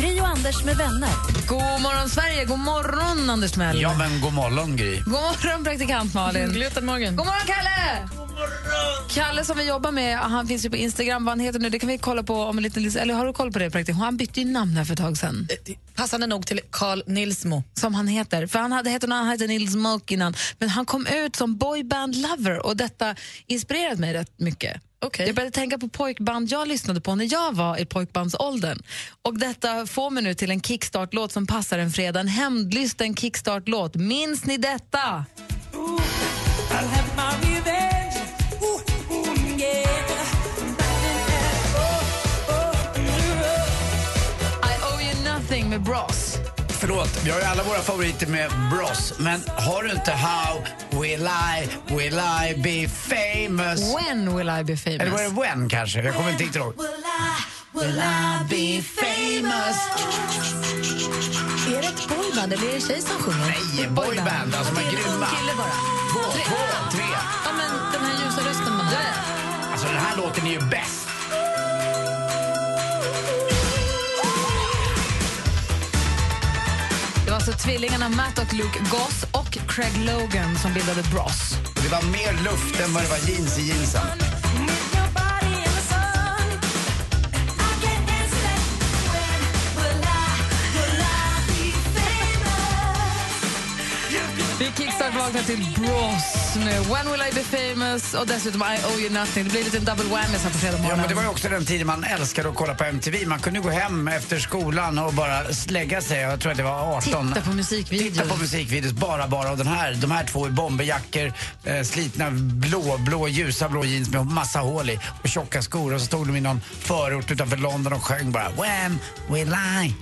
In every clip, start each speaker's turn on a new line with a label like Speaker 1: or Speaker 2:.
Speaker 1: Gry och Anders med vänner.
Speaker 2: God morgon, Sverige! God morgon, Anders Mell!
Speaker 3: Ja, men god morgon, Gry.
Speaker 2: God morgon, praktikant Malin!
Speaker 4: Glutenmagen.
Speaker 2: God morgon, Kalle! God morgon! Kalle som vi jobbar med, han finns ju på Instagram. Vad han heter nu, det kan vi kolla på om en liten... Eller har du koll på det, praktikant? Han bytte ju namn här för ett tag sedan.
Speaker 4: Passande nog till Carl Nilsmo.
Speaker 2: Som han heter. För han hade hetat något annat, han hette Nils Moke innan. Men han kom ut som boyband lover och detta inspirerade mig rätt mycket.
Speaker 4: Okej.
Speaker 2: Jag började tänka på pojkband jag lyssnade på när jag var i pojkbandsåldern. Och detta får mig nu till en kickstart-låt som passar en fredag. En hämndlysten kickstart-låt. Minns ni detta? I owe you nothing med Bros.
Speaker 3: Förlåt, vi har ju alla våra favoriter med Bros. Men har du inte How will I, will I be famous?
Speaker 2: When will I be
Speaker 3: Eller var det
Speaker 2: famous?
Speaker 3: When kanske? Jag kommer inte riktigt ihåg. Will I be famous?
Speaker 4: Är det ett boyband eller är det en tjej som sjunger?
Speaker 3: Nej, boyband. Alltså, de är grymma.
Speaker 4: Kille bara.
Speaker 3: Två, två, tre.
Speaker 4: Ja, men den här ljusa rösten man har.
Speaker 3: Alltså, den här låten är ju bäst.
Speaker 2: Det var alltså tvillingarna Matt och Luke Goss och Craig Logan som bildade Bros.
Speaker 3: Det var mer luft än vad det var jeans i jeansen.
Speaker 2: Vi kickstart-vaknar till Bros nu. When will I be famous? Och dessutom I owe you nothing. Det blir en liten double whammy så här på fredag morgon.
Speaker 3: Ja, men det var ju också den tiden man älskade att kolla på MTV. Man kunde gå hem efter skolan och bara lägga sig. Jag tror att det var 18.
Speaker 2: Titta på musikvideos.
Speaker 3: Titta på musikvideos, bara bara. Och den här, de här två i bomberjackor, eh, slitna blå, blå, ljusa blå jeans med massa hål i och tjocka skor. Och så stod de i någon förort utanför London och sjöng bara When will I?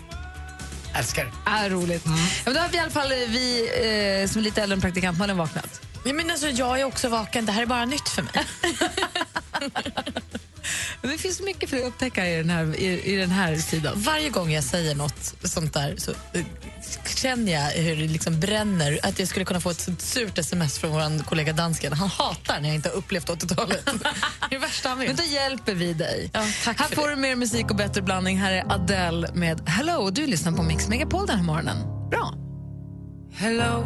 Speaker 3: Älskar det.
Speaker 2: är roligt.
Speaker 3: Mm.
Speaker 2: Ja, men då har vi i alla fall eh, vi eh, som är lite äldre än praktikantmannen vaknat.
Speaker 4: Ja, men alltså, jag är också vaken. Det här är bara nytt för mig.
Speaker 2: Men det finns mycket för att upptäcka i den här, i, i den här tiden.
Speaker 4: Varje gång jag säger något sånt där så eh, känner jag hur det liksom bränner. Att jag skulle kunna få ett sånt surt sms från vår kollega dansken. Han hatar när jag inte har upplevt 80-talet. det är det värsta han
Speaker 2: Men
Speaker 4: vet.
Speaker 2: då hjälper vi dig.
Speaker 4: Ja, tack
Speaker 2: här
Speaker 4: för
Speaker 2: får
Speaker 4: det.
Speaker 2: du mer musik och bättre blandning. Här är Adele med Hello. Och Du lyssnar på Mix Megapol den här morgonen. Bra.
Speaker 5: Hello,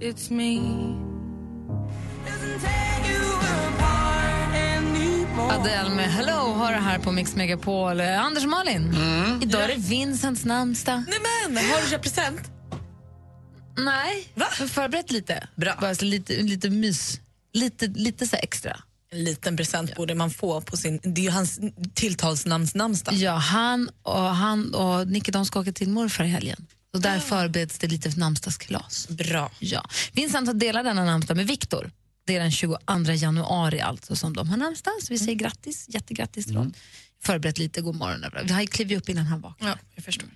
Speaker 5: it's me.
Speaker 2: Adele med Hello har det här på Mix Megapol. Eh, Anders och Malin,
Speaker 4: Mm.
Speaker 2: idag är det Vincents namnsdag.
Speaker 4: Nej, men, har du köpt present?
Speaker 2: Nej, Va? förberett lite.
Speaker 4: Bra.
Speaker 2: Bara så lite, lite mys, lite, lite så här extra.
Speaker 4: En liten present borde man få på sin... Det är ju hans tilltalsnamns namnsdag.
Speaker 2: Ja, han och, han och Nicky de ska åka till morfar i helgen. Och där förbereds det lite för namnsdagskalas.
Speaker 4: Bra.
Speaker 2: Ja. Vincent har delat denna namnsdag med Viktor. Det är den 22 januari alltså som de har namnsdag. Så vi säger grattis, jättegrattis till dem. Förberett lite, god morgon. Vi har ju klivit upp innan han vaknar.
Speaker 4: Ja, jag förstår.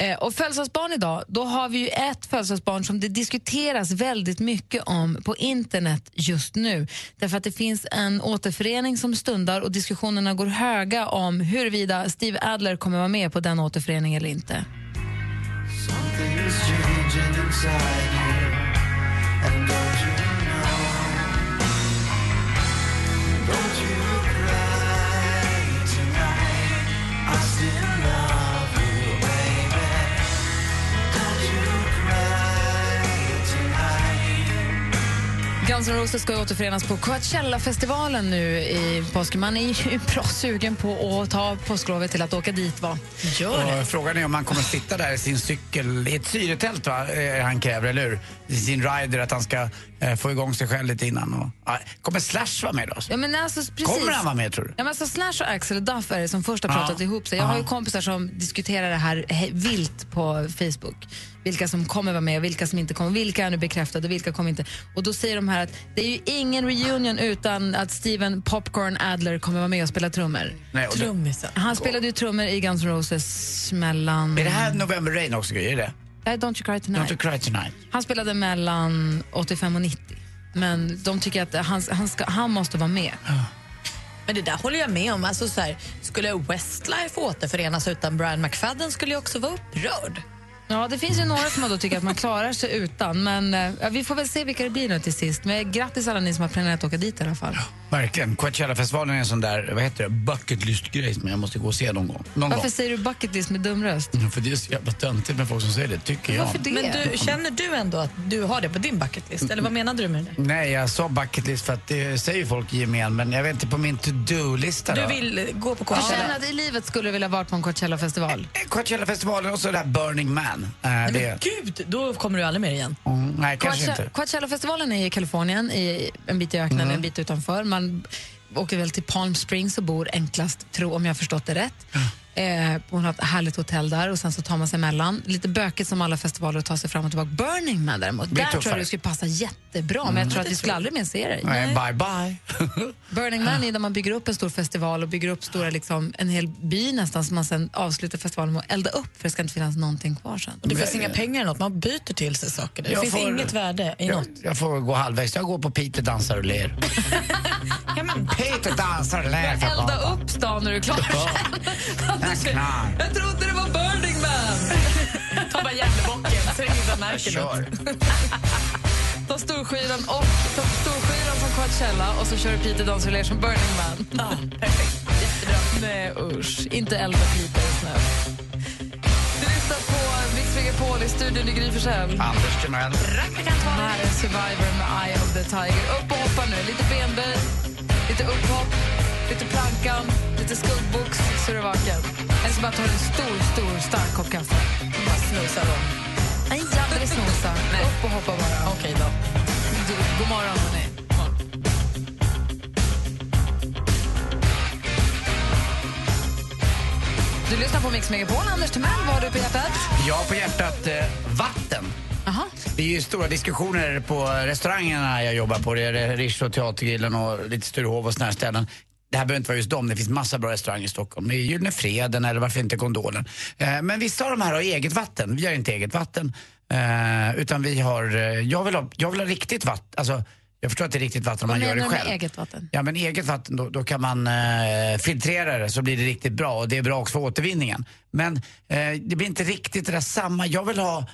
Speaker 2: Eh, och födelsedagsbarn idag, då har vi ju ett födelsedagsbarn som det diskuteras väldigt mycket om på internet just nu. Därför att det finns en återförening som stundar och diskussionerna går höga om huruvida Steve Adler kommer vara med på den återföreningen eller inte. Guns N' Roses ska ju återförenas på Coachella-festivalen nu i påsken. Man är ju bra sugen på att ta påsklovet till att åka dit. Va?
Speaker 4: Gör det.
Speaker 3: Och frågan är om han kommer att sitta där i sin cykel, i ett syretält va, eh, han kräver, eller hur? I sin rider, att han ska eh, få igång sig själv lite innan. Och, ja, kommer Slash vara med då?
Speaker 2: Ja, men alltså, precis.
Speaker 3: Kommer han vara med tror du?
Speaker 2: Ja, men alltså Slash och Axel Duff är det som först har
Speaker 3: Ja.
Speaker 2: pratat ihop sig. Jag har ju kompisar som diskuterar det här he- vilt på Facebook. vilka som kommer vara med och vilka som inte kommer. Vilka är nu bekräftade och vilka kommer inte? Och då säger de här att det är ju ingen reunion utan att Steven Popcorn Adler kommer vara med och spela trummor.
Speaker 3: Nej, och det,
Speaker 4: Trummisen.
Speaker 2: Han spelade ju trummor i Guns N' Roses mellan...
Speaker 3: är det här November Rain också? Är det?
Speaker 2: Nej, Don't You Cry Tonight.
Speaker 3: Don't you cry tonight.
Speaker 2: Han spelade mellan 85 och 90. Men de tycker att han, han, ska, han måste vara med.
Speaker 4: Men det där håller jag med om. Alltså, så här, skulle Westlife återförenas utan Brian McFadden skulle jag också vara upprörd.
Speaker 2: Ja, det finns ju några som då tycker att man klarar sig utan. Men eh, ja, vi får väl se vilka det blir nu till sist. Men grattis alla ni som har planerat att åka dit i alla fall.
Speaker 3: Verkligen. Coachella-festivalen är en sån där, vad heter det, bucket list-grej som jag måste gå och se någon gång. Någon
Speaker 2: Varför säger du bucket list med dum röst?
Speaker 3: gång. För det är så jävla töntigt med folk som säger det, tycker jag.
Speaker 2: Varför det?
Speaker 4: Men du, känner du ändå att du har det på din bucket list? Eller vad menade du med det?
Speaker 3: Nej, jag sa bucket list för att det säger folk i gemen, men jag vet inte på min to-do-lista
Speaker 4: Du
Speaker 3: då.
Speaker 4: vill eh, gå på
Speaker 2: Jag
Speaker 4: Coachella?
Speaker 2: känner att i livet skulle du vilja varit på en Coachella-festival.
Speaker 3: Coachella-festivalen och så det här Burning Man. Eh,
Speaker 4: Nej,
Speaker 3: det,
Speaker 4: men gud, då kommer du aldrig mer igen.
Speaker 3: mm, nej, kanske
Speaker 2: Coacha-
Speaker 3: inte. Mm.
Speaker 2: Coachella-festivalen är i Kalifornien, i en bit i öknen, en bit utanför. Man åker väl till Palm Springs och bor enklast, tro, om jag har förstått det rätt. Eh, hon har ett härligt hotell där och sen så tar man sig emellan. Lite bökigt som alla festivaler att ta sig fram och tillbaka. Burning Man däremot, där
Speaker 3: Blir
Speaker 2: tror jag
Speaker 3: tuffare.
Speaker 2: du skulle passa jättebra
Speaker 3: Mm.
Speaker 2: men jag tror att vi skulle aldrig mer se dig.
Speaker 3: Nej, bye bye.
Speaker 2: Burning Man är där man bygger upp en stor festival och bygger upp stora, liksom, en hel by nästan som man sen avslutar festivalen med att elda upp för det ska inte finnas någonting kvar sen.
Speaker 4: Det finns inga pengar eller något, man byter till sig saker. Det
Speaker 3: Jag
Speaker 4: finns
Speaker 3: får-
Speaker 4: inget värde i
Speaker 3: jag,
Speaker 4: något.
Speaker 3: jag får gå halvvägs. Jag går på Peter dansar och ler. Peter dansar och ler. för fan.
Speaker 2: Elda upp stan när du är klar
Speaker 3: Ja. That's nice.
Speaker 2: Jag trodde det var Burning Man!
Speaker 4: Ta bara Gävlebocken, så ingen märker något.
Speaker 3: Kör.
Speaker 2: Ta storskyran och ta storskyran som Coachella och så kör du Peter Dansulé som Burning Man. Nej usch, inte elda Peter snäll. Du lyssnar på Mix Megapol i studion i Gry Forssell.
Speaker 3: Anders Timell.
Speaker 2: Här är Survivor med Eye of the Tiger. Upp och hoppa nu, lite benböj, lite upphopp, lite plankan, lite skuggbox så är du vaken. Eller så bara tar du en stor, stor stark kopp kaffe.
Speaker 4: Bara snusar dem.
Speaker 2: Nej, aldrig snosa. Upp och hoppa bara.
Speaker 4: Okej då.
Speaker 2: Du, god morgon, hörni. Du lyssnar på Mix Megapol. Anders Timell, vad har du på hjärtat?
Speaker 3: Jag på hjärtat eh, vatten.
Speaker 2: Aha.
Speaker 3: Det är ju stora diskussioner på restaurangerna jag jobbar på. Det är Riche och Teatergrillen och lite Sturehof och såna här ställen. Det här behöver inte vara just dem, det finns massa bra restauranger i Stockholm. Det är Gyllene Freden eller varför inte Gondolen. Eh, Men vissa av de här har eget vatten, vi har inte eget vatten. Eh, Utan vi har, eh, jag vill ha, jag vill ha riktigt vatten. Alltså, jag förstår att det är riktigt vatten om
Speaker 2: Vad
Speaker 3: man gör
Speaker 2: menar
Speaker 3: det
Speaker 2: du med
Speaker 3: själv.
Speaker 2: eget vatten?
Speaker 3: Ja, men eget vatten, då, då kan man eh, filtrera det så blir det riktigt bra och det är bra också för återvinningen. Men eh, det blir inte riktigt det där samma. Jag vill ha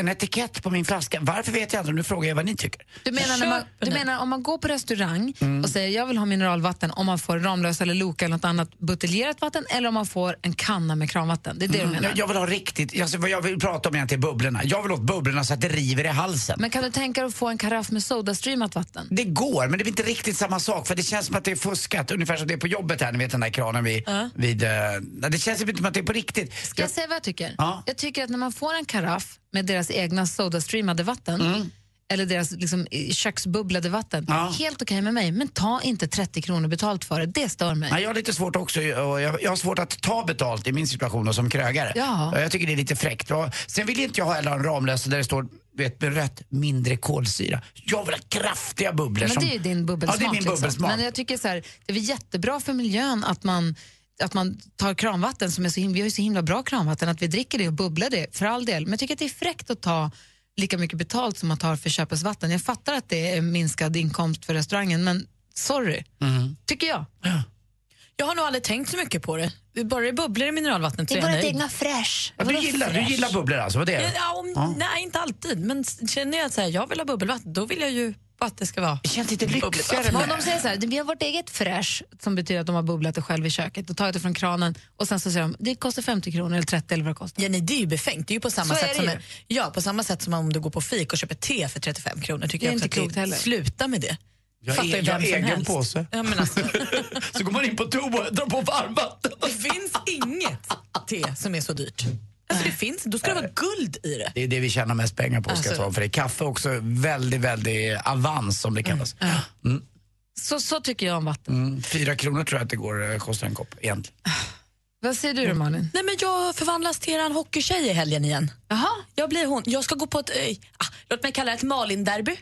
Speaker 3: en etikett på min flaska. Varför vet jag inte? Nu frågar jag vad ni tycker.
Speaker 2: Du menar, när man, du menar om man går på restaurang
Speaker 3: Mm.
Speaker 2: och säger jag vill ha mineralvatten om man får Ramlösa eller Loka eller något annat buteljerat vatten eller om man får en kanna med kranvatten. Det är det du menar.
Speaker 3: Jag, jag vill ha riktigt, jag, vad jag vill prata om egentligen är bubblorna. Jag vill åt bubblorna så att det river i halsen.
Speaker 2: Men kan du tänka dig att få en karaff med sodastreamat vatten?
Speaker 3: Det går, men det är inte riktigt samma sak. För det känns som att det är fuskat. Ungefär som det är på jobbet här, ni vet den där kranen vid... vid eh, det känns inte som att det är på riktigt.
Speaker 2: Ska jag säga vad jag tycker?
Speaker 3: Ja.
Speaker 2: Jag tycker att när man får en karaff med deras egna sodastreamade vatten eller deras liksom, i- köksbubblade vatten,
Speaker 3: Mm. Ja.
Speaker 2: helt okej med mig. Men ta inte 30 kronor betalt för det, det stör mig.
Speaker 3: Nej, jag har lite svårt också. och Jag, jag har svårt att ta betalt i min situation och som krögare.
Speaker 2: Ja.
Speaker 3: Och Jag tycker det är lite fräckt. Och Sen vill inte jag ha heller en Ramlösa där det står vet, med rött, mindre kolsyra. Jag vill ha kraftiga bubblor.
Speaker 2: Men
Speaker 3: som,
Speaker 2: det är ju din
Speaker 3: Ja,
Speaker 2: bubbelsmak.
Speaker 3: det är min bubbelsmak.
Speaker 2: Liksom. Men jag tycker så här, det är väl jättebra för miljön att man att man tar kranvatten, som är så himla, vi har ju så himla bra kranvatten, att vi dricker det och bubblar det, för all del. Men jag tycker att det är fräckt att ta lika mycket betalt som man tar för köpesvatten. Jag fattar att det är minskad inkomst för restaurangen, men sorry,
Speaker 3: Mm-hmm.
Speaker 2: tycker jag.
Speaker 4: Jag har nog aldrig tänkt så mycket på det. Det är Bara det bubblar i mineralvattnet så är jag nöjd.
Speaker 2: fresh.
Speaker 3: Ja, du, gillar, du gillar bubblor alltså? Vad det är?
Speaker 4: Ja, om, Nej, inte alltid. Men s- känner jag att så här, jag vill ha bubbelvatten, då vill jag ju att det ska vara...
Speaker 3: Det känns lite lyxigare
Speaker 4: Bubbelvatten.
Speaker 2: Men om
Speaker 3: med...
Speaker 2: de säger så här, vi har vårt eget fräsch som betyder att de har bubblat det själv i köket, då tar jag det från kranen och sen så säger de, det kostar 50 kronor eller 30 eller vad det kostar.
Speaker 4: Jenny, det är ju befängt. Det är ju på
Speaker 2: Så
Speaker 4: samma,
Speaker 2: är
Speaker 4: sätt,
Speaker 2: det
Speaker 4: som
Speaker 2: ju.
Speaker 4: en, ja, på samma sätt som om du går på fik och köper te för 35 kronor. Tycker
Speaker 2: Det är
Speaker 4: jag också
Speaker 2: inte klokt
Speaker 4: att det,
Speaker 2: heller.
Speaker 4: Sluta med det.
Speaker 3: Jag
Speaker 4: Fattar
Speaker 3: är-
Speaker 4: ju
Speaker 3: jag
Speaker 4: vem
Speaker 3: är
Speaker 4: som
Speaker 3: egen
Speaker 4: helst.
Speaker 3: påse.
Speaker 4: Ja, men alltså,
Speaker 3: Så går man in på toa och drar på varmvatten.
Speaker 4: det finns inget te som är så dyrt. Alltså, det finns, då ska det vara guld i det.
Speaker 3: Det är det vi tjänar mest pengar på, ska jag
Speaker 4: Alltså.
Speaker 3: ta. För det är kaffe också, väldigt, väldigt avans som det kallas.
Speaker 2: Mm, Så, så tycker jag om vatten.
Speaker 3: Mm, fyra kronor tror jag att det går, eh, kostar en kopp egentligen.
Speaker 2: Vad säger du då, Malin?
Speaker 4: Nej, men jag förvandlas till en hockeytjej i helgen igen.
Speaker 2: Jaha.
Speaker 4: Jag blir hon. Jag ska gå på ett, eh, ah, låt mig kalla det ett Malin-derby.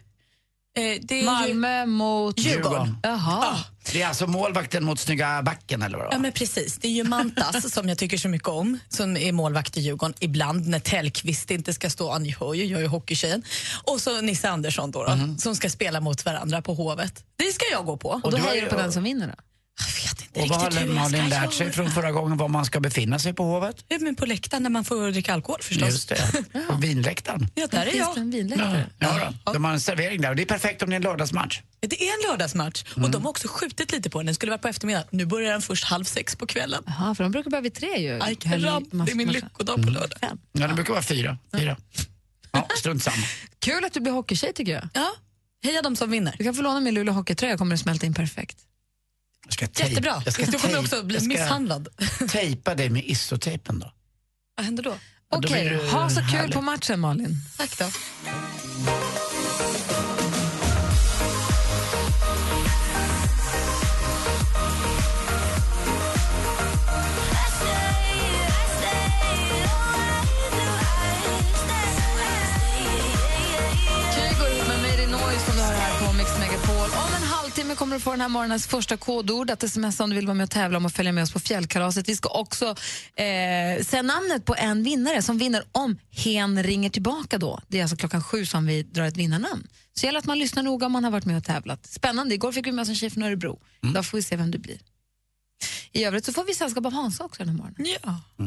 Speaker 4: Eh, det är ju-
Speaker 2: Malmö mot... Ah.
Speaker 3: Djurgården.
Speaker 2: Jaha.
Speaker 3: Det är alltså målvakten mot snygga backen eller vad?
Speaker 4: Ja, men precis. Det är ju Mantas som jag tycker så mycket om, som är målvakt i Djurgården ibland när Tellqvist inte ska stå. Ja, Ni hör ju, jag är ju hockeytjejen. Och så Nisse Andersson då, då
Speaker 3: Mhm.
Speaker 4: som ska spela mot varandra på Hovet. Det ska jag gå på.
Speaker 2: Och då
Speaker 3: du har
Speaker 2: hejar
Speaker 3: ju-
Speaker 2: du på den som vinner då?
Speaker 4: Jag vet inte
Speaker 3: Och vad
Speaker 4: riktigt
Speaker 3: har
Speaker 4: hur jag ska
Speaker 3: Malin lärt sig
Speaker 4: göra.
Speaker 3: från förra gången var man ska befinna sig på Hovet?
Speaker 4: Ja, Men på läktaren när man får dricka alkohol förstås.
Speaker 3: Just det, på vinläktaren.
Speaker 4: Ja, där är
Speaker 2: Finns det
Speaker 4: jag.
Speaker 2: en vinläktare?
Speaker 3: Ja, då. De har en servering där och det är perfekt om det är en lördagsmatch.
Speaker 4: Det är en lördagsmatch och de har också skjutit lite på den. Den skulle vara på eftermiddagen. Nu börjar den först halv sex på kvällen.
Speaker 2: Jaha, för de brukar börja vid tre ju.
Speaker 4: Aj, kram. Det är min lyckodag på lördag.
Speaker 3: Ja, det brukar vara fyra. fyra. Ja, strunt samma.
Speaker 2: Kul att du blir hockeytjej tycker jag.
Speaker 4: Ja. Heja de som vinner.
Speaker 2: Du kan få låna min Luleå hockeytröja, jag kommer att smälta in perfekt.
Speaker 3: Jag ska tejp-
Speaker 4: Jättebra.
Speaker 3: Jag ska
Speaker 4: du kommer
Speaker 3: tejp-
Speaker 4: också bli
Speaker 3: jag ska
Speaker 4: misshandlad.
Speaker 3: tejpa dig med isotejpen då.
Speaker 4: Vad händer då?
Speaker 3: Ja, då
Speaker 2: Okej,
Speaker 3: blir det
Speaker 2: ha så kul
Speaker 3: härligt.
Speaker 2: på matchen Malin.
Speaker 4: Tack då.
Speaker 2: Kygo ihop med Made in Noise som du hör här på Mix Megapol. Om en halvtimme kommer du få den här morgonens första kodord. Att sms om du vill vara med och tävla om och följa med oss på fjällkalaset. Vi ska också eh, säga namnet på en vinnare som vinner om hen ringer tillbaka då. Det är alltså klockan sju som vi drar ett vinnarnamn. Så det gäller att man lyssnar noga om man har varit med och tävlat. Spännande. Igår fick vi med oss en tjej från Örebro. Idag får vi se vem du blir. I övrigt så får vi sällskap av Hansa också den här morgonen.
Speaker 4: Ja.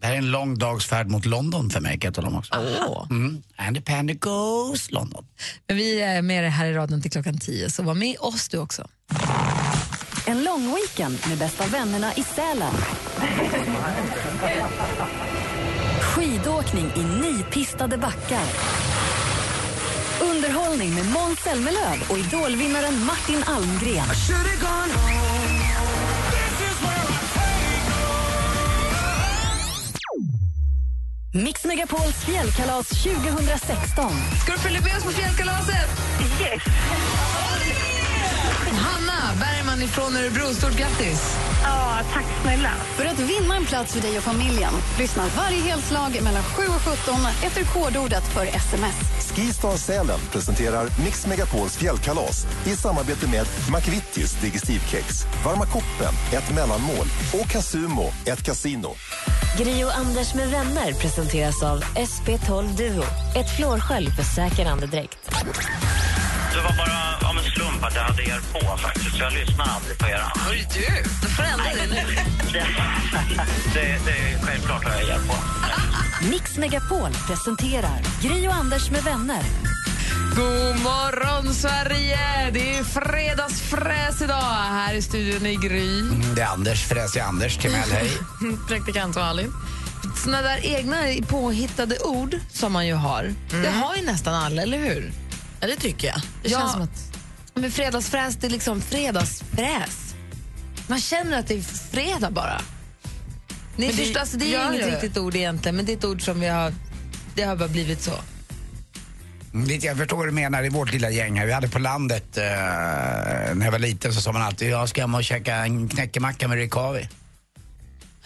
Speaker 3: Det här är en lång dags färd mot London för mig kan jag tala om också.
Speaker 4: Ah.
Speaker 2: Åh.
Speaker 3: Mm. And the panda goes London.
Speaker 2: Men vi är med dig här i radion till klockan tio, så var med oss du också.
Speaker 1: En lång weekend med bästa vännerna i Sälen. Skidåkning i nypistade backar. Underhållning med Måns Zelmerlöw och idolvinnaren Martin Almgren. Mix Megapols fjällkalas 2016.
Speaker 2: Ska du följa med oss på fjällkalaset? Yes. Hanna Bergman ifrån Örebro, stort grattis!
Speaker 6: För att vinna en plats för dig och familjen, lyssna varje helslag mellan 7 och 17 efter kodordet för sms.
Speaker 7: Skistar Sälen presenterar Mix Megapols fjällkalas i samarbete med McVittys Digestivkex, Varma koppen, ett mellanmål och Casumo, ett kasino.
Speaker 1: Gri och Anders med vänner presenteras av SP12 Duo. Ett flårskölj för säker andedräkt.
Speaker 8: Det var bara ja, men slump att jag hade er på faktiskt. så Jag lyssnade aldrig på er.
Speaker 2: Hörru du, du får ändra dig nu.
Speaker 8: Det, det, det är självklart att jag är er på.
Speaker 1: Mix Megapol presenterar Gri och Anders med vänner.
Speaker 2: God morgon Sverige! Det är fredagsfräs idag här i studion i Gry.
Speaker 3: Mm, Det är Anders, fräsig Anders, Timell, hej.
Speaker 4: Praktikant Malin.
Speaker 2: Såna där egna påhittade ord som man ju har, det har ju nästan alla, eller hur?
Speaker 4: Ja, det tycker jag. Det
Speaker 2: Ja.
Speaker 4: känns som att...
Speaker 2: Men fredagsfräs, det är liksom fredagsfräs. Man känner att det är fredag bara. Ni
Speaker 4: Men det-
Speaker 2: förstår, alltså, det är
Speaker 4: ja,
Speaker 2: ju inget
Speaker 4: ja, ja.
Speaker 2: riktigt ord egentligen, men det är ett ord som vi har... Det har bara blivit så.
Speaker 3: Mm, lite, Jag förstår vad du menar i vårt lilla gäng här. Vi hade på landet, eh, när jag var liten så sa man alltid jag ska hem och käka en knäckemacka med rikavi.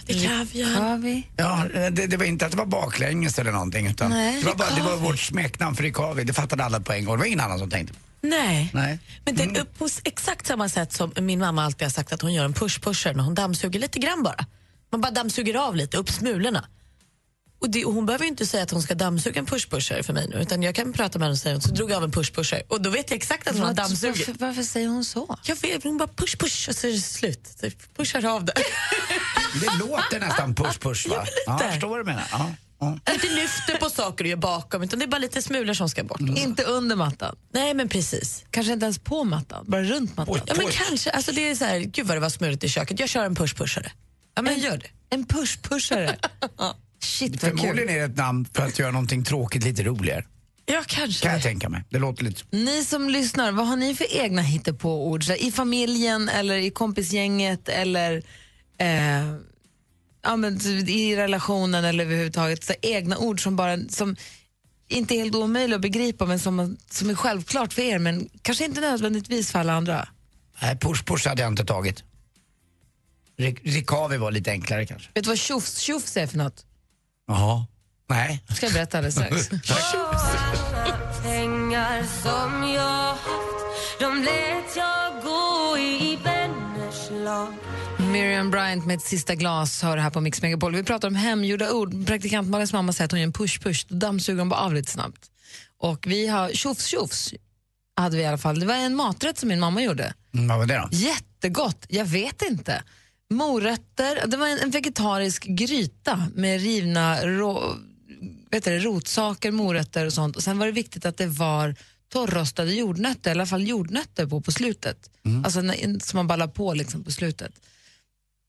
Speaker 4: Det är kaviar.
Speaker 2: Har vi?
Speaker 3: Ja, eh, det, det var inte att det var baklänges eller någonting utan
Speaker 2: Nej,
Speaker 3: det, var bara, det var vårt smeknamn för rikavi. Det fattade alla på en gång. Det var ingen annan som tänkte.
Speaker 4: Nej.
Speaker 3: Nej. Mm.
Speaker 4: Men det är på exakt samma sätt som min mamma alltid har sagt att hon gör en push-pusher när hon dammsuger lite grann bara. Man bara dammsuger av lite, upp smulorna. Och, det, och hon behöver ju inte säga att hon ska dammsuga en push-pusher för mig nu utan jag kan prata med henne och säga så drog jag av en push-pusher och då vet jag exakt att hon har dammsugit.
Speaker 2: varför, varför säger hon så?
Speaker 4: Jag vet, hon bara push, push och så är det slut. Typ, pushar av det.
Speaker 3: Det låter nästan push-push va? Ja, jag förstår vad du menar. Ja, ja.
Speaker 4: inte lyfter på saker och gör bakom utan det är bara lite smulor som ska bort.
Speaker 3: Mm.
Speaker 2: Inte under mattan,
Speaker 4: Nej men precis.
Speaker 2: kanske inte ens på mattan, bara runt mattan.
Speaker 4: Ja, men
Speaker 3: Push.
Speaker 4: kanske, alltså det är så här, gud vad det var smurigt i köket, jag kör en push-pushare. Ja men gör det.
Speaker 2: En push-pushare. Shit vad kul.
Speaker 3: Förmodligen är det ett namn för att göra någonting tråkigt lite roligare.
Speaker 4: Ja
Speaker 3: Kan jag
Speaker 4: kanske.
Speaker 3: tänka mig. Det låter lite så.
Speaker 2: Ni som lyssnar, vad har ni för egna hittepåord? Så här, I familjen eller i kompisgänget eller eh, ja, men, typ i relationen eller överhuvudtaget? Så här, egna ord som, bara, som inte är helt omöjliga att begripa men som, man- som är självklart för er men kanske inte nödvändigtvis för alla andra.
Speaker 3: Nej, push-push hade jag inte tagit. Rik- Rikavi var lite enklare kanske.
Speaker 4: Vet du vad tjofs-tjofs är för något?
Speaker 3: Jaha. Nej.
Speaker 4: Ska jag berätta alldeles strax.
Speaker 9: Pengar som jag haft, de lät jag gå i vänners lag
Speaker 4: Miriam Bryant med ett sista glas hör här på Mix Megapol. Vi pratar om hemgjorda ord. Praktikant Malins mamma säger att hon gör en push-push. Då dammsuger hon bara av lite snabbt. Och vi har tjofs-tjofs. Hade vi i alla fall. Det var en maträtt som min mamma gjorde.
Speaker 3: Mm, vad var det då?
Speaker 4: Jättegott. Jag vet inte. Morötter. Det var en, en vegetarisk gryta med rivna rå, vet du, det, rotsaker, morötter och sånt. Och sen var det viktigt att det var torrrostade jordnötter, i alla fall jordnötter på, på slutet. Alltså när, som man ballar på liksom på slutet.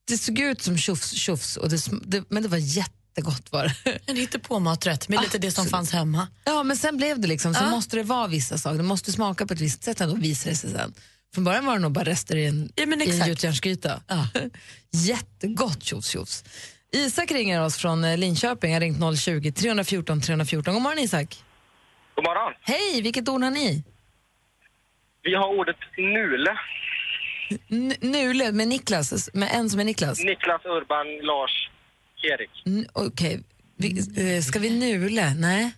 Speaker 4: Det såg ut som tjofs, tjofs, och det, sm- det, men det var jättegott var det.
Speaker 2: En hittepåmaträtt med lite det som
Speaker 4: Absolut.
Speaker 2: fanns hemma.
Speaker 4: Ja, men sen blev det liksom, så
Speaker 2: Ja.
Speaker 4: måste det vara vissa saker. Det måste smaka på ett visst sätt ändå, visar det sig sen. Från början var det nog bara rester i en,
Speaker 2: Ja, men
Speaker 4: i en
Speaker 2: exakt.
Speaker 4: gjutjärnsgryta. Jättegott tjofs tjofs. Isak ringer oss från eh, Linköping, har ringt 020-314 314. God morgon Isak.
Speaker 10: God morgon.
Speaker 4: Hej, vilket ord har ni?
Speaker 10: Vi har ordet nule.
Speaker 4: N- Nule med Niklas, med en som är Niklas.
Speaker 10: Niklas, Urban, Lars, Erik.
Speaker 4: N- Okej, vi, eh, ska vi nule? Nej.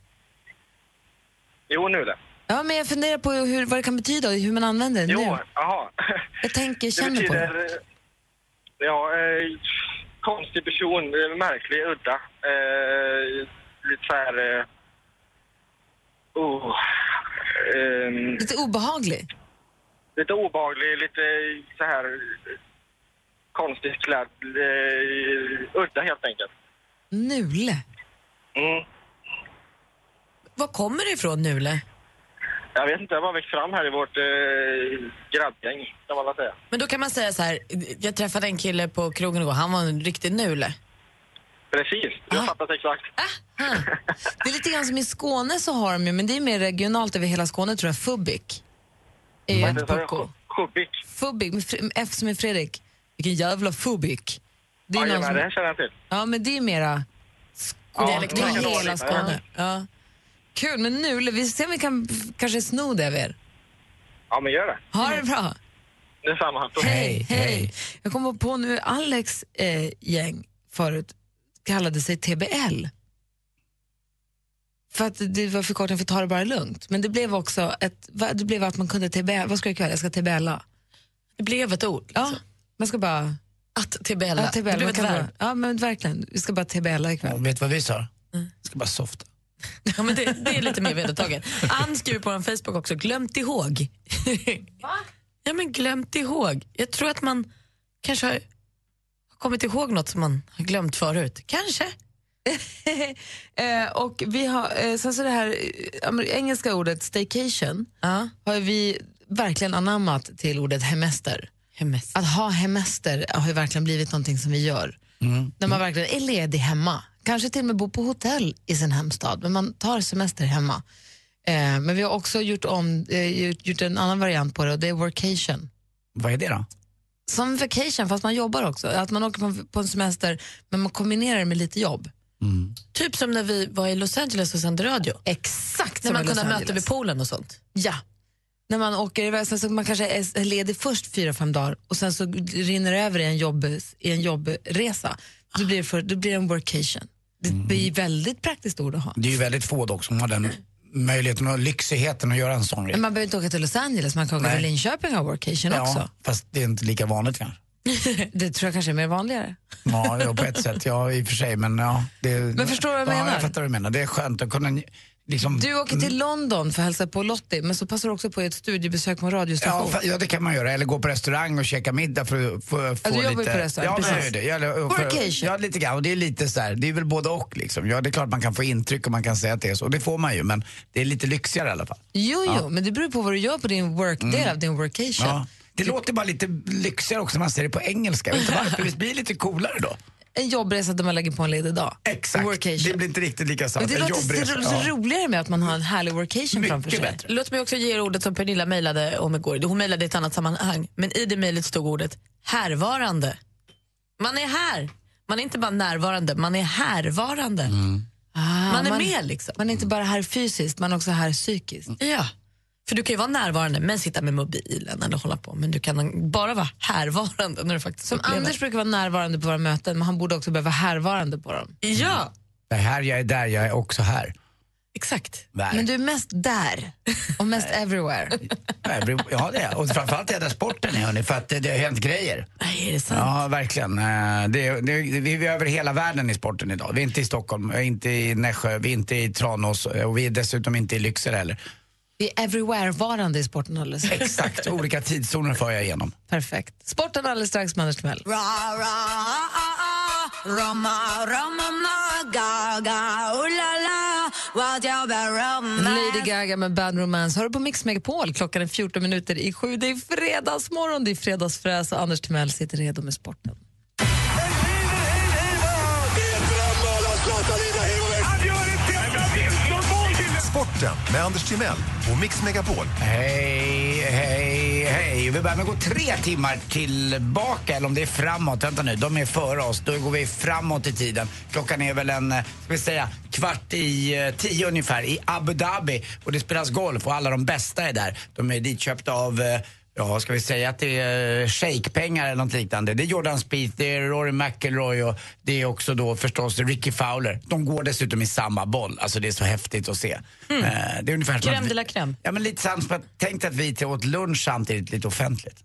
Speaker 10: Jo, nule.
Speaker 4: Ja, men jag funderar på hur, vad det kan betyda och hur man använder det
Speaker 10: Jo,
Speaker 4: nu.
Speaker 10: jaha.
Speaker 4: Jag tänker, känner på det.
Speaker 10: Ja, eh, konstig person, eh, märklig, udda. Eh, lite så här... Eh, oh, ehm,
Speaker 4: Lite obehaglig.
Speaker 10: lite obehaglig, lite så här... eh, Konstigt klädd, eh, udda helt enkelt.
Speaker 4: Nule.
Speaker 10: Mm.
Speaker 2: Var kommer det ifrån, Nule?
Speaker 10: Jag vet inte, jag bara växt fram här i vårt eh, grabbgäng, kan man väl säga.
Speaker 2: Men då kan man säga så här, jag träffade en kille på krogen igår, han var en riktig Nule.
Speaker 10: Precis, du har fattat exakt.
Speaker 4: Det är lite grann som i Skåne så har de ju, men det är mer regionalt över hela Skåne tror jag, Fubik. Är ju ett pucko.
Speaker 10: Schubbik.
Speaker 4: Fubik, med Fre- med F som är Fredrik. Vilken jävla Fubik. Det är någon
Speaker 10: Jajamän,
Speaker 4: som-
Speaker 10: det här känner jag till.
Speaker 4: Ja, men det är mera Skåne.
Speaker 10: Ja,
Speaker 4: det
Speaker 10: det
Speaker 4: är
Speaker 10: kan
Speaker 4: hela
Speaker 10: vara lite,
Speaker 4: Skåne. Ja. Kul, men nu, vi ser om vi kan f- kanske sno det av er.
Speaker 10: Ja, men gör det.
Speaker 4: Ha det bra.
Speaker 10: Detsamma.
Speaker 4: Mm. Hej, hej. Jag kommer på nu, Alex eh, gäng förut kallade sig TBL. För att det var förkortningen för ta det bara lugnt. Men det blev också ett, va- det blev att man kunde TBL, vad ska jag göra? Jag ska TBLa.
Speaker 2: Det blev ett ord. Liksom.
Speaker 4: Ja, man ska bara...
Speaker 2: Att TBLa.
Speaker 4: Ja, TBLa.
Speaker 2: Det blev ett
Speaker 4: Man kan
Speaker 2: verb.
Speaker 4: bara- Ja, men verkligen. Vi ska bara TBLa ikväll.
Speaker 3: Ja, vet du vad vi sa?
Speaker 4: Mm.
Speaker 3: Ska bara softa.
Speaker 2: Ja, men det, det är lite mer vedertaget. Ann skriver på en Facebook också, glömt ihåg. Va? Ja, men glömt ihåg. Jag tror att man kanske har, har kommit ihåg något som man har glömt förut. Kanske.
Speaker 4: eh, och vi har, eh, sen så det här eh, amer- engelska ordet staycation har vi verkligen anammat till ordet hemester.
Speaker 2: hemester.
Speaker 4: Att ha hemester har ju verkligen blivit någonting som vi gör. När man verkligen är ledig hemma. Kanske till och med bor på hotell i sin hemstad, men man tar semester hemma. Eh, men vi har också gjort, om, eh, gjort, gjort en annan variant på det och det är workation.
Speaker 3: Vad är det då?
Speaker 4: Som vacation fast man jobbar också. Att man åker på, på en semester men man kombinerar det med lite jobb.
Speaker 2: Typ som när vi var i Los Angeles och sände radio.
Speaker 4: Exakt
Speaker 2: När
Speaker 4: som
Speaker 2: man
Speaker 4: i
Speaker 2: kunde
Speaker 4: Los
Speaker 2: ha möte
Speaker 4: Angeles.
Speaker 2: vid poolen och sånt.
Speaker 4: Ja. När man åker iväg, sen så man kanske är ledig först fyra, fem dagar och sen så rinner det över i en, jobb, i en jobbresa. Då blir det, för, då blir det en workation. Det blir väldigt praktiskt ord att ha.
Speaker 3: Det är ju väldigt få dock som har den möjligheten och lyxigheten att göra en sån
Speaker 4: Men
Speaker 3: grej.
Speaker 4: man behöver inte åka till Los Angeles, man kan åka
Speaker 3: Nej.
Speaker 4: till Linköping och ha workation också.
Speaker 3: fast det är inte lika vanligt kanske.
Speaker 4: Det tror jag kanske är mer vanligare.
Speaker 3: Ja, ja, på ett sätt. Ja, i och för sig. Men, ja, det,
Speaker 4: Men förstår du vad jag
Speaker 3: ja,
Speaker 4: menar?
Speaker 3: jag fattar vad du menar. Det är skönt att kunna liksom...
Speaker 4: Du åker till London för att hälsa på Lottie, men så passar du också på ett studiebesök på en
Speaker 3: Ja,
Speaker 4: radiostation.
Speaker 3: fa- ja, det kan man göra. Eller gå på restaurang och käka middag för att få,
Speaker 4: du
Speaker 3: få
Speaker 4: jobbar
Speaker 3: lite...
Speaker 4: ju på restaurang,
Speaker 3: ja, men jag
Speaker 4: precis.
Speaker 3: gör det. Eller, och för,
Speaker 4: Workation.
Speaker 3: Ja, lite grann. Och det är lite så här, det är väl både och liksom. Ja, det är klart man kan få intryck och man kan säga att det är så. Och det får man ju, men det är lite lyxigare i alla fall.
Speaker 4: Jo, jo,
Speaker 3: Ja.
Speaker 4: men det beror på vad du gör på din workdel
Speaker 3: Mm.
Speaker 4: av din workation.
Speaker 3: Ja. Typ- Det låter bara lite lyxigare också när man säger det på engelska. Vet du varför? Visst blir det lite coolare då?
Speaker 4: En jobbresa där man lägger på en ledig dag.
Speaker 3: Exakt. Det blir inte riktigt lika sant.
Speaker 4: Men det
Speaker 3: En
Speaker 4: låter
Speaker 3: jobbresa.
Speaker 4: så, så roligare med att man har en härlig workation framför sig.
Speaker 2: Låt mig också ge er ordet som Pernilla mejlade om igår. Hon mejlade i ett annat sammanhang, men i det mejlet stod ordet härvarande. Man är här. Man är inte bara närvarande, man är härvarande.
Speaker 4: Ah,
Speaker 2: Man är med, liksom.
Speaker 4: Man är inte bara här fysiskt, man är också här psykiskt.
Speaker 2: Mm. Ja.
Speaker 4: För du kan ju vara närvarande men sitta med mobilen eller hålla på. Men du kan bara vara härvarande när du faktiskt
Speaker 2: Som
Speaker 4: upplever.
Speaker 2: Anders brukar vara närvarande på våra möten, men han borde också behöva härvarande på dem.
Speaker 4: Ja,
Speaker 3: Det är här jag är där, jag är också här.
Speaker 4: exakt.
Speaker 3: Nej.
Speaker 2: Men du är mest där och mest everywhere.
Speaker 3: Nej, det beror- Ja, det är jag. Och framförallt är jag där sporten är, hörni, för att det, det har hänt grejer.
Speaker 4: Nej, är det sant?
Speaker 3: Ja, verkligen. Eh, Det, det, vi är över hela världen i sporten idag. Vi är inte i Stockholm, eh, inte i Nässjö, vi är inte i Tranås eh, och vi är dessutom inte i Lycksele heller.
Speaker 2: Vi är everywhere-varande i sporten alldeles strax.
Speaker 3: Exakt, olika tidszoner för jag igenom.
Speaker 2: Perfekt. Sporten alldeles strax med Anders Timell. Lady Gaga med Bad Romance. Hör du på Mix Megapol? Klockan är 14 minuter i sju. Det är fredagsmorgon, det är fredagsfräs och Anders Timell sitter redo med sporten.
Speaker 7: Sporten med Anders Timell och Mix Megapol.
Speaker 3: Hej, hej, hej. Vi börjar med att gå tre timmar tillbaka, eller om det är framåt. Vänta nu, de är före oss. Då går vi framåt i tiden. Klockan är väl en, eh, ska vi säga, kvart i eh, tio ungefär i Abu Dhabi. Och det spelas golf och alla de bästa är där. De är ditköpta av eh, Ja, ska vi säga att det är eh, shejkpengar eller något liknande. Det är Jordan Spieth, det är Rory McIlroy och det är också då förstås Ricky Fowler. De går dessutom i samma boll. Alltså det är så häftigt att se. Eh, Det är ungefär som
Speaker 4: Mm.
Speaker 3: att
Speaker 4: Crème de
Speaker 3: vi-
Speaker 4: la crème.
Speaker 3: Ja, men lite sant. men Tänk dig att vi åt lunch samtidigt lite offentligt.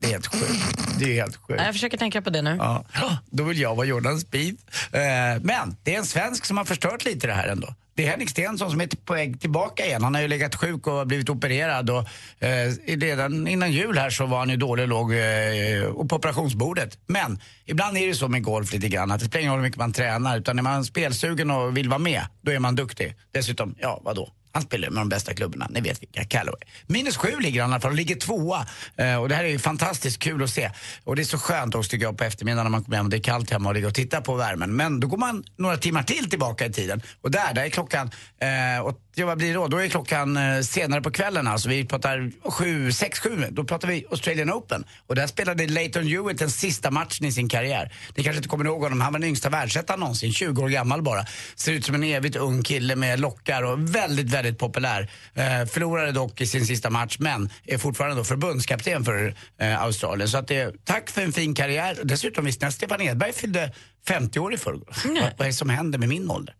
Speaker 3: Det är helt sjukt. Det är helt sjukt.
Speaker 4: Ja, Jag försöker tänka på det nu.
Speaker 3: Ja, då vill jag vara Jordan Spieth. Eh, Men det är en svensk som har förstört lite det här ändå. Det är Henrik Stenson som är på väg tillbaka igen. Han har ju legat sjuk och blivit opererad och eh, redan innan jul här så var han ju dålig och låg eh, på operationsbordet. Men ibland är det ju så med golf lite grann att det spelar ingen roll hur mycket man tränar utan är man spelsugen och vill vara med, då är man duktig. Dessutom, ja vadå? Han spelar med de bästa klubborna, ni vet vilka, Callaway. Minus sju ligger han i alla fall, ligger tvåa. Eh, och det här är ju fantastiskt kul att se. Och det är så skönt också tycker jag på eftermiddagen när man kommer hem och det är kallt hemma och ligger och tittar på värmen. Men då går man några timmar till tillbaka i tiden. Och där, där är klockan, eh, och, ja, vad blir det då? Då är klockan eh, senare på kvällen alltså. Vi pratar sju, sex, sju, då pratar vi Australian Open. Och där spelade Leighton Hewitt den sista matchen i sin karriär. Ni kanske inte kommer ihåg honom, han var den yngsta världsettan någonsin, 20 år gammal bara. Ser ut som en evigt ung kille med lockar och väldigt, väldigt populär. Eh, förlorade dock i sin sista match, men är fortfarande då förbundskapten för eh, Australien. Så att det, tack för en fin karriär. Dessutom visste ni att Stefan Edberg fyllde 50 år i förrgår. Vad, vad är det som händer med min ålder?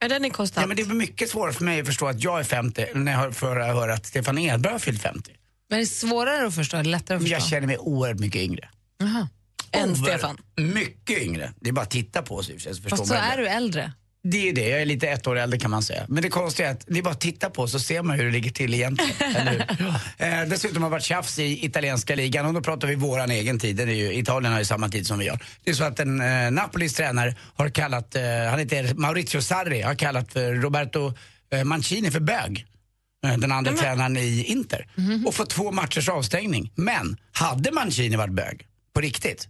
Speaker 4: Ja, den är konstant.
Speaker 3: Ja, men det är mycket svårare för mig att förstå att jag är 50 när jag hör- får höra att Stefan Edberg har fyllt 50.
Speaker 2: Men det är svårare att förstå, eller lättare att förstå?
Speaker 3: Jag känner mig oerhört mycket yngre.
Speaker 2: Jaha.
Speaker 4: Än
Speaker 3: Over-
Speaker 4: Stefan.
Speaker 3: Mycket yngre. Det är bara att titta på oss i och för sig, så förstår
Speaker 2: Fast så
Speaker 3: man det.
Speaker 2: är du äldre.
Speaker 3: Det är det, jag är lite ett år äldre kan man säga. Men det konstiga är att det är bara att titta på så ser man hur det ligger till egentligen. Eller hur? Eh, dessutom har det varit tjafs i italienska ligan och då pratar vi våran egen tid. Det är ju, Italien har ju samma tid som vi har. Det är så att en eh, Napolis tränare har kallat, eh, han heter Maurizio Sarri, har kallat för Roberto eh, Mancini för bög. Eh, Den andra
Speaker 2: Mm.
Speaker 3: tränaren i Inter.
Speaker 2: Mhm.
Speaker 3: Och fått två matchers avstängning. Men hade Mancini varit bög, på riktigt,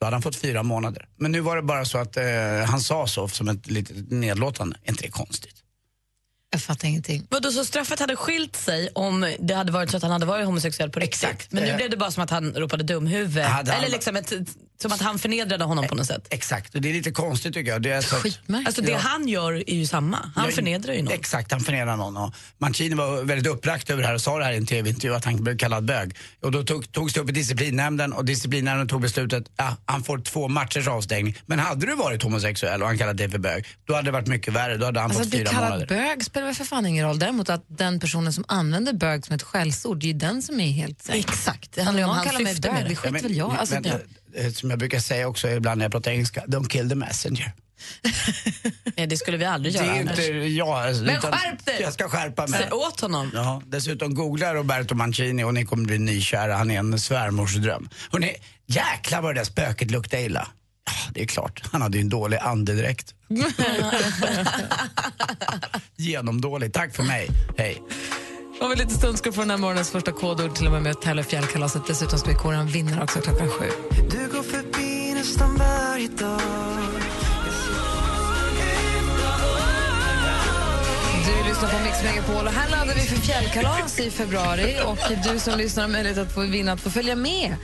Speaker 3: då hade han fått fyra månader. Men nu var det bara så att eh, han sa så som ett litet nedlåtande. Är inte det konstigt?
Speaker 2: Jag fattar ingenting.
Speaker 4: Vadå, så straffet hade skilt sig om det hade varit så att han hade varit homosexuell på riktigt? Exakt. Men nu
Speaker 3: Eh.
Speaker 4: blev det bara som att han ropade dumhuvud.
Speaker 3: Hade han-
Speaker 4: Eller liksom ett, som att han förnedrade honom på något sätt.
Speaker 3: Exakt, och det är lite konstigt tycker jag. Det är så att-
Speaker 4: Alltså det
Speaker 3: Ja.
Speaker 4: han gör är ju samma. Han
Speaker 3: Jag-
Speaker 4: förnedrar ju någon.
Speaker 3: Exakt, han förnedrar någon. Och Mancini var väldigt uppbragt över det här och sa det här i en tv-intervju att han blev kallad bög. Och då tog, togs det upp i disciplinnämnden och disciplinnämnden tog beslutet att ja, han får två matchers avstängning. Men hade du varit homosexuell och han kallat dig för bög, då hade det varit mycket värre. Då hade han
Speaker 2: Alltså att
Speaker 3: fått
Speaker 2: bli
Speaker 3: fyra
Speaker 2: kallad
Speaker 3: månader.
Speaker 2: bög spelar väl för fan ingen roll. Däremot att den personen som använder bög som ett skällsord, det är ju den som är helt...
Speaker 4: Exakt, det handlar ju om
Speaker 2: Någon
Speaker 4: hans
Speaker 2: kallar mig
Speaker 4: syfte med
Speaker 2: bög,
Speaker 4: det.
Speaker 2: det skiter
Speaker 3: Ja, men-
Speaker 2: väl jag alltså,
Speaker 3: men, eh, Som jag brukar säga också ibland när jag pratar engelska, don't kill the messenger.
Speaker 4: Nej, det skulle vi aldrig
Speaker 3: Det
Speaker 4: göra
Speaker 3: är
Speaker 4: annars.
Speaker 3: inte jag. alltså,
Speaker 4: Men
Speaker 3: utan
Speaker 4: skärp dig!
Speaker 3: Jag ska skärpa mig.
Speaker 4: Säg åt honom.
Speaker 3: Ja, dessutom googla Roberto Mancini och ni kommer bli nykära. Han är en svärmorsdröm. Hörrni, jäklar vad det där spöket luktar illa. Ja, det är klart. Han hade ju en dålig andedräkt. Genomdålig. Tack för mig. Hej.
Speaker 2: Om en liten stund ska du få den här morgonens första kodord till och med med att tävla i fjällkalaset. Dessutom ska vi kora en vinnare också klockan sju.
Speaker 11: Du går förbi nästan varje dag
Speaker 2: Du lyssnar på Mix Megapol och här laddar vi för fjällkalas i februari. Och du som lyssnar har möjlighet att få vinna att få följa med.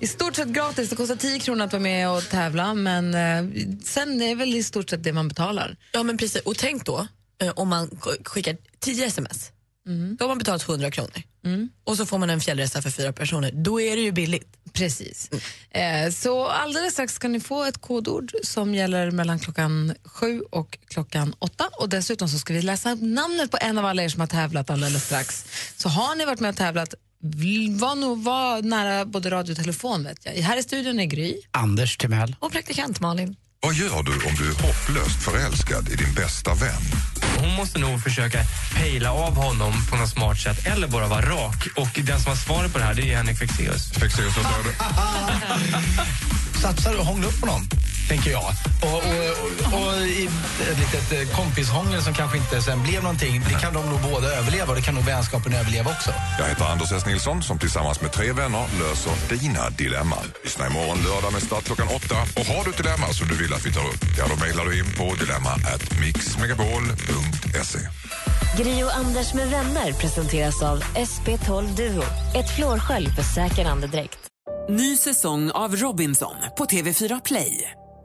Speaker 2: I stort sett gratis. Det kostar 10 kronor att vara med och tävla men eh, sen är det väl i stort sett det man betalar.
Speaker 4: Ja men precis, och tänk då eh, om man k- skickar 10 sms.
Speaker 12: Då har man betalat 100 kronor. Och så får man en fjällresa för fyra personer. Då är det ju billigt. Mm.
Speaker 4: Precis. Eh, så alldeles strax ska ni få ett kodord som gäller mellan klockan sju och klockan åtta. Och dessutom så ska vi läsa namnet på en av alla er som har tävlat alldeles strax. Så har ni varit med och tävlat, vl- var, nog, var nära både radio och telefon vet jag. Här i studion är Gry.
Speaker 3: Anders Timell.
Speaker 4: Och praktikant Malin.
Speaker 13: Vad gör du om du är hopplöst förälskad i din bästa vän?
Speaker 2: Hon måste nog försöka pejla av honom på något smart sätt eller bara vara rak. Och den som har svaret på det här det är Henrik Fexeus. Fexeus, vad sa du?
Speaker 3: Satsar och hångla upp på någon, tänker jag. Och, och, och, och i ett litet eh, kompishångel som kanske inte sen blev någonting, det kan de nog båda överleva och det kan nog vänskapen överleva också.
Speaker 13: Jag heter Anders S. Nilsson som tillsammans med tre vänner löser dina dilemman. Lyssna imorgon lördag med start klockan åtta. Och har du ett dilemma som du vill att vi tar upp, ja då mejlar du in på dilemma at mixmegapol.se.
Speaker 10: Gri och Anders med vänner presenteras av SP12 Duo. Ett flårskölj för säker andedräkt.
Speaker 11: Ny säsong av Robinson på TV4 Play.